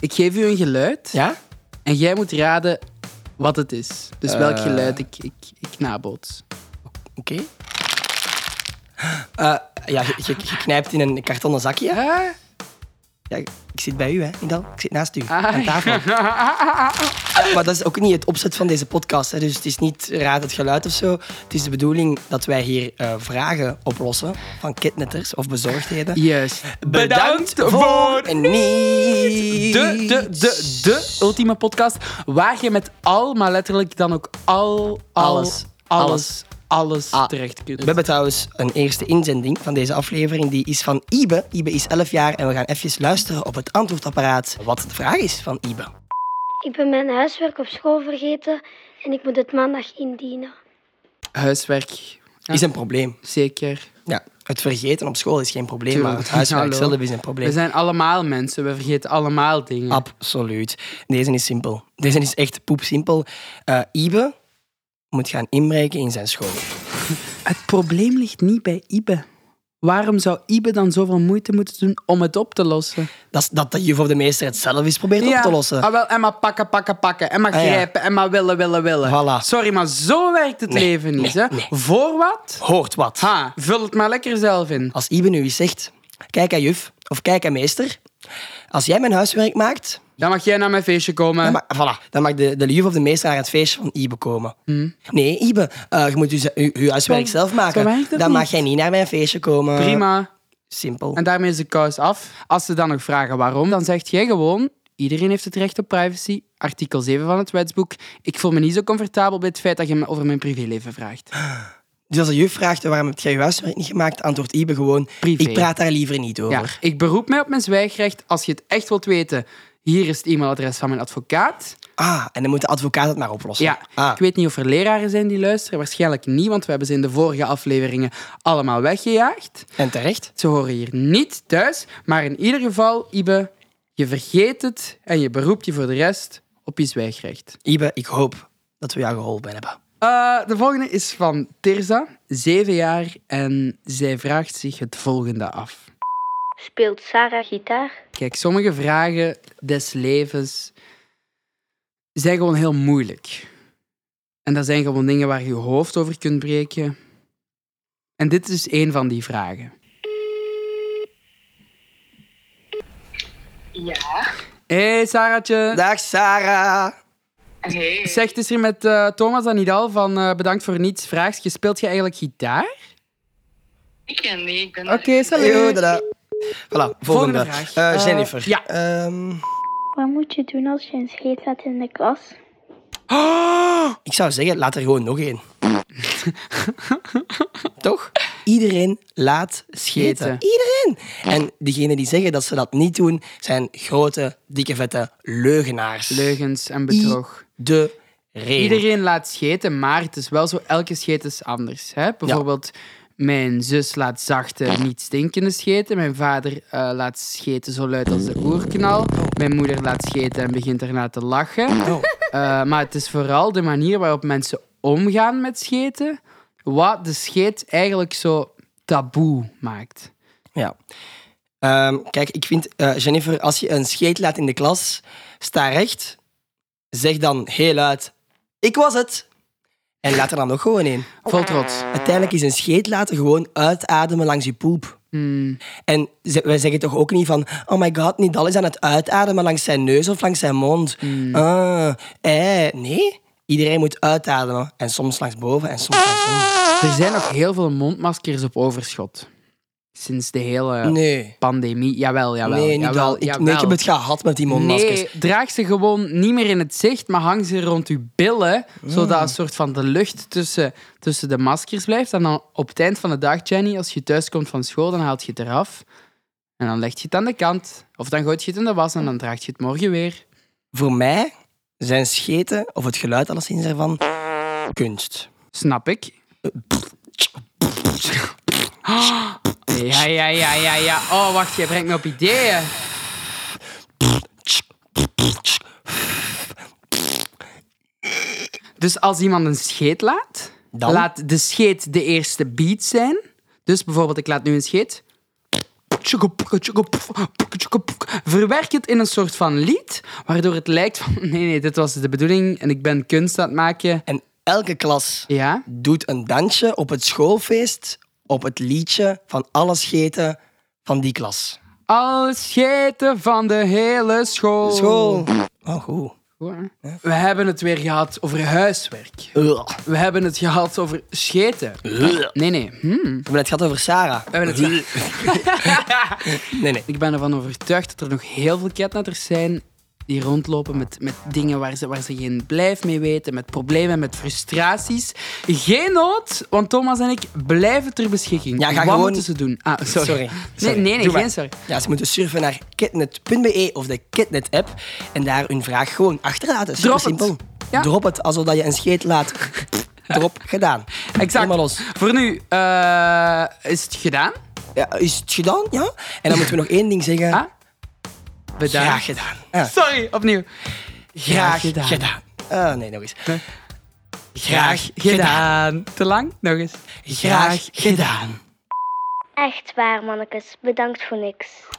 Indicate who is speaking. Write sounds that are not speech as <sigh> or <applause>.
Speaker 1: Ik geef u een geluid
Speaker 2: Ja?
Speaker 1: en jij moet raden wat het is. Dus welk
Speaker 2: Eh.
Speaker 1: geluid ik, ik, ik naboots.
Speaker 2: Oké. Eh, ja, je, je- je knijpt in een kartonnen zakje. hè?
Speaker 1: Ah,
Speaker 2: Ja, ik zit bij u, hè, Nidal. Ik zit naast u, aan
Speaker 1: ah,
Speaker 2: tafel. Ja, maar dat is ook niet het opzet van deze podcast. Hè. Dus het is niet raad het geluid of zo. Het is de bedoeling dat wij hier eh, vragen oplossen van kitnetters of bezorgdheden.
Speaker 1: Juist.
Speaker 2: Bedankt
Speaker 3: voor
Speaker 2: En niet...
Speaker 3: de, de, de, de
Speaker 1: Ultieme podcast waar je met al, maar letterlijk dan ook al, al
Speaker 2: Alles.
Speaker 1: alles, alles
Speaker 2: Ah.
Speaker 1: terecht kunt.
Speaker 2: We hebben trouwens een eerste inzending van deze aflevering. Die is van Ibe. Ibe is 11 jaar en we gaan even luisteren op het antwoordapparaat wat de vraag is van Ibe.
Speaker 4: Ik ben mijn huiswerk op school vergeten en ik moet het maandag indienen.
Speaker 1: Huiswerk,
Speaker 2: Is een probleem.
Speaker 1: zeker.
Speaker 2: Ja, het vergeten op school is geen probleem,
Speaker 1: Tuurlijk.
Speaker 2: maar het huiswerk
Speaker 1: Hallo.
Speaker 2: zelf is een
Speaker 1: We
Speaker 2: probleem. Ah.
Speaker 1: zijn allemaal mensen, we vergeten allemaal dingen.
Speaker 2: Absoluut. Deze is simpel. Deze is echt poepsimpel. Eh Ibe moet gaan inbreken in zijn school.
Speaker 1: Het probleem ligt niet bij Ibe. Waarom zou Ibe dan zoveel moeite moeten doen om het op te lossen?
Speaker 2: Dat, is- dat de juf of de meester het zelf eens probeert op te lossen.
Speaker 1: Ah, wel, en maar pakken, pakken, pakken. En maar
Speaker 2: Ah, ja.
Speaker 1: grijpen. En maar willen, willen, willen.
Speaker 2: Voilà.
Speaker 1: Sorry, maar zo werkt het
Speaker 2: Nee,
Speaker 1: leven niet.
Speaker 2: nee,
Speaker 1: hè.
Speaker 2: nee.
Speaker 1: Voor wat?
Speaker 2: Hoort wat.
Speaker 1: Ha, vul het maar lekker zelf in.
Speaker 2: Als Ibe nu eens zegt, kijk aan juf of kijk aan meester. Als jij mijn huiswerk maakt,
Speaker 1: Dan mag jij naar mijn feestje komen.
Speaker 2: dan mag, voilà, dan mag de, de juf of de meester naar het feestje van Ibe komen. Nee, Ibe, eh, je moet je, je, je huiswerk
Speaker 1: Hmm. Zo-
Speaker 2: zelf maken.
Speaker 1: zo werkt dat
Speaker 2: dan
Speaker 1: niet.
Speaker 2: mag jij niet naar mijn feestje komen.
Speaker 1: Prima.
Speaker 2: Simpel.
Speaker 1: En daarmee is de kous af. Als ze dan nog vragen waarom, dan zegt jij gewoon... Iedereen heeft het recht op privacy. Artikel 7 van het wetsboek. Ik voel me niet zo comfortabel bij het feit dat je me over mijn privéleven vraagt.
Speaker 2: Dus als de juf vraagt waarom heb jij je huiswerk niet gemaakt, antwoordt Ibe gewoon:
Speaker 1: Privé.
Speaker 2: Ik praat daar liever niet
Speaker 1: Ja,
Speaker 2: over.
Speaker 1: ik beroep mij op mijn zwijgrecht. Als je het echt wilt weten, hier is het e-mailadres van mijn advocaat.
Speaker 2: Ah, en dan moet de advocaat het maar oplossen.
Speaker 1: Ja,
Speaker 2: Ah,
Speaker 1: ik weet niet of er leraren zijn die luisteren. Waarschijnlijk niet, want we hebben ze in de vorige afleveringen allemaal weggejaagd.
Speaker 2: En terecht?
Speaker 1: Ze horen hier niet thuis. Maar in ieder geval, Ibe, je vergeet het en je beroept je voor de rest op je zwijgrecht.
Speaker 2: Ibe, ik hoop dat we jou geholpen hebben.
Speaker 1: Eh, de volgende is van Tirza, zeven jaar, en zij vraagt zich het volgende af.
Speaker 4: Speelt Sarah gitaar?
Speaker 1: Kijk, sommige vragen des levens zijn gewoon heel moeilijk. En dat zijn gewoon dingen waar je je hoofd over kunt breken. En dit is één van die vragen.
Speaker 5: Ja.
Speaker 1: hey, Sarahje.
Speaker 2: Dag Sarah.
Speaker 5: Hey.
Speaker 1: Zeg, het is hier met eh, Thomas en Nidal van eh, Bedankt voor Niets Vraagje. Speelt je eigenlijk gitaar?
Speaker 5: Ik ken niet. Ik ben
Speaker 1: Oké, salut.
Speaker 2: Yo, dada. Voilà, volgende.
Speaker 1: Volgende vraag.
Speaker 2: Eh,
Speaker 1: Eh,
Speaker 2: Jennifer.
Speaker 1: ja.
Speaker 2: Ehm,
Speaker 4: Wat moet je doen als je een scheet had in de klas?
Speaker 2: ik zou zeggen, laat er gewoon nog één. Toch? Iedereen laat
Speaker 1: Scheten.
Speaker 2: scheten. Iedereen. En diegenen die zeggen dat ze dat niet doen, zijn grote, dikke, vette leugenaars.
Speaker 1: Leugens en bedrog.
Speaker 2: de reden.
Speaker 1: Iedereen laat scheten, maar het is wel zo, elke scheet is anders. Hè? Bijvoorbeeld, mijn zus laat zachte, niet stinkende scheten. Mijn vader eh, laat scheten zo luid als de oerknal. Mijn moeder laat scheten en begint erna te lachen.
Speaker 2: Oh.
Speaker 1: Eh, maar het is vooral de manier waarop mensen omgaan met scheten, wat de scheet eigenlijk zo taboe maakt.
Speaker 2: Ja. Ehm, kijk, ik vind, eh, Jennifer, als je een scheet laat in de klas, sta recht, zeg dan heel luid, ik was het. En laat er dan nog gewoon in.
Speaker 1: Vol trots.
Speaker 2: Uiteindelijk is een scheet laten gewoon uitademen langs je poep.
Speaker 1: Hmm.
Speaker 2: En ze- wij zeggen toch ook niet van, oh my god, Nidal is aan het uitademen langs zijn neus of langs zijn mond.
Speaker 1: Hmm.
Speaker 2: Ah, eh, nee, iedereen moet uitademen. En soms langs boven en soms langs onder.
Speaker 1: Er zijn nog heel veel mondmaskers op overschot. Sinds de hele
Speaker 2: Nee,
Speaker 1: pandemie. Jawel, jawel.
Speaker 2: nee, Nidal.
Speaker 1: jawel,
Speaker 2: ik, nee, ik heb het gehad met die mondmaskers.
Speaker 1: Nee, draag ze gewoon niet meer in het zicht, maar hang ze rond uw billen, zodat een soort van de lucht tussen, tussen de maskers blijft. En dan op het eind van de dag, Jenny, als je thuis komt van school, dan haalt je het eraf. En dan leg je het aan de kant. Of dan gooit je het in de was en dan draagt je het morgen weer.
Speaker 2: Voor mij zijn scheten, of het geluid alleszins ervan, kunst.
Speaker 1: Snap ik. Ah, Ja, ja, ja, ja, ja. Oh, wacht, je brengt me op ideeën. Dus als iemand een scheet laat,
Speaker 2: Dan?
Speaker 1: laat de scheet de eerste beat zijn. Dus bijvoorbeeld, ik laat nu een scheet. tjoeke, poeke, tjoeke, poef, poeke, tjoeke, poek. Verwerk het in een soort van lied, waardoor het lijkt van... Nee, nee, dit was de bedoeling en ik ben kunst aan het maken.
Speaker 2: En elke klas
Speaker 1: Ja?
Speaker 2: doet een dansje op het schoolfeest op het liedje van alle scheten van die klas.
Speaker 1: Al scheten van de hele school.
Speaker 2: School. Oh, goed.
Speaker 1: Goed, hè? We hebben het weer gehad over huiswerk.
Speaker 2: Ugh.
Speaker 1: We hebben het gehad over scheten. Nee, nee. Hm.
Speaker 2: We hebben het gehad over Sarah.
Speaker 1: We hebben het gehad-
Speaker 2: Nee, nee.
Speaker 1: Ik ben ervan overtuigd dat er nog heel veel catnatters zijn die rondlopen met, met dingen waar ze, waar ze geen blijf mee weten, met problemen, met frustraties. Geen nood, want Thomas en ik blijven ter beschikking.
Speaker 2: Ja, ga
Speaker 1: Wat
Speaker 2: gewoon-
Speaker 1: moeten ze doen? Ah, sorry.
Speaker 2: Sorry.
Speaker 1: Nee,
Speaker 2: Sorry.
Speaker 1: nee, nee
Speaker 2: Doe maar.
Speaker 1: geen sorry.
Speaker 2: Ja, ze moeten surfen naar kitnet.be of de Kitnet-app en daar hun vraag gewoon achterlaten. Super
Speaker 1: Drop het.
Speaker 2: simpel.
Speaker 1: Ja.
Speaker 2: Drop het, alsof dat je een scheet laat. Drop, gedaan.
Speaker 1: <laughs> Exact.
Speaker 2: Helemaal los.
Speaker 1: Voor nu eh, is het gedaan.
Speaker 2: Ja, is het gedaan? Ja. En dan moeten we nog één ding zeggen.
Speaker 1: Ah? Bedankt.
Speaker 2: Graag gedaan. Ja.
Speaker 1: Sorry, opnieuw.
Speaker 2: Graag gedaan. Ah, nee, nog eens.
Speaker 1: Nee.
Speaker 2: Graag
Speaker 1: gedaan. Te lang? Nog eens.
Speaker 2: Graag gedaan.
Speaker 4: Echt waar, mannekes. Bedankt voor niks.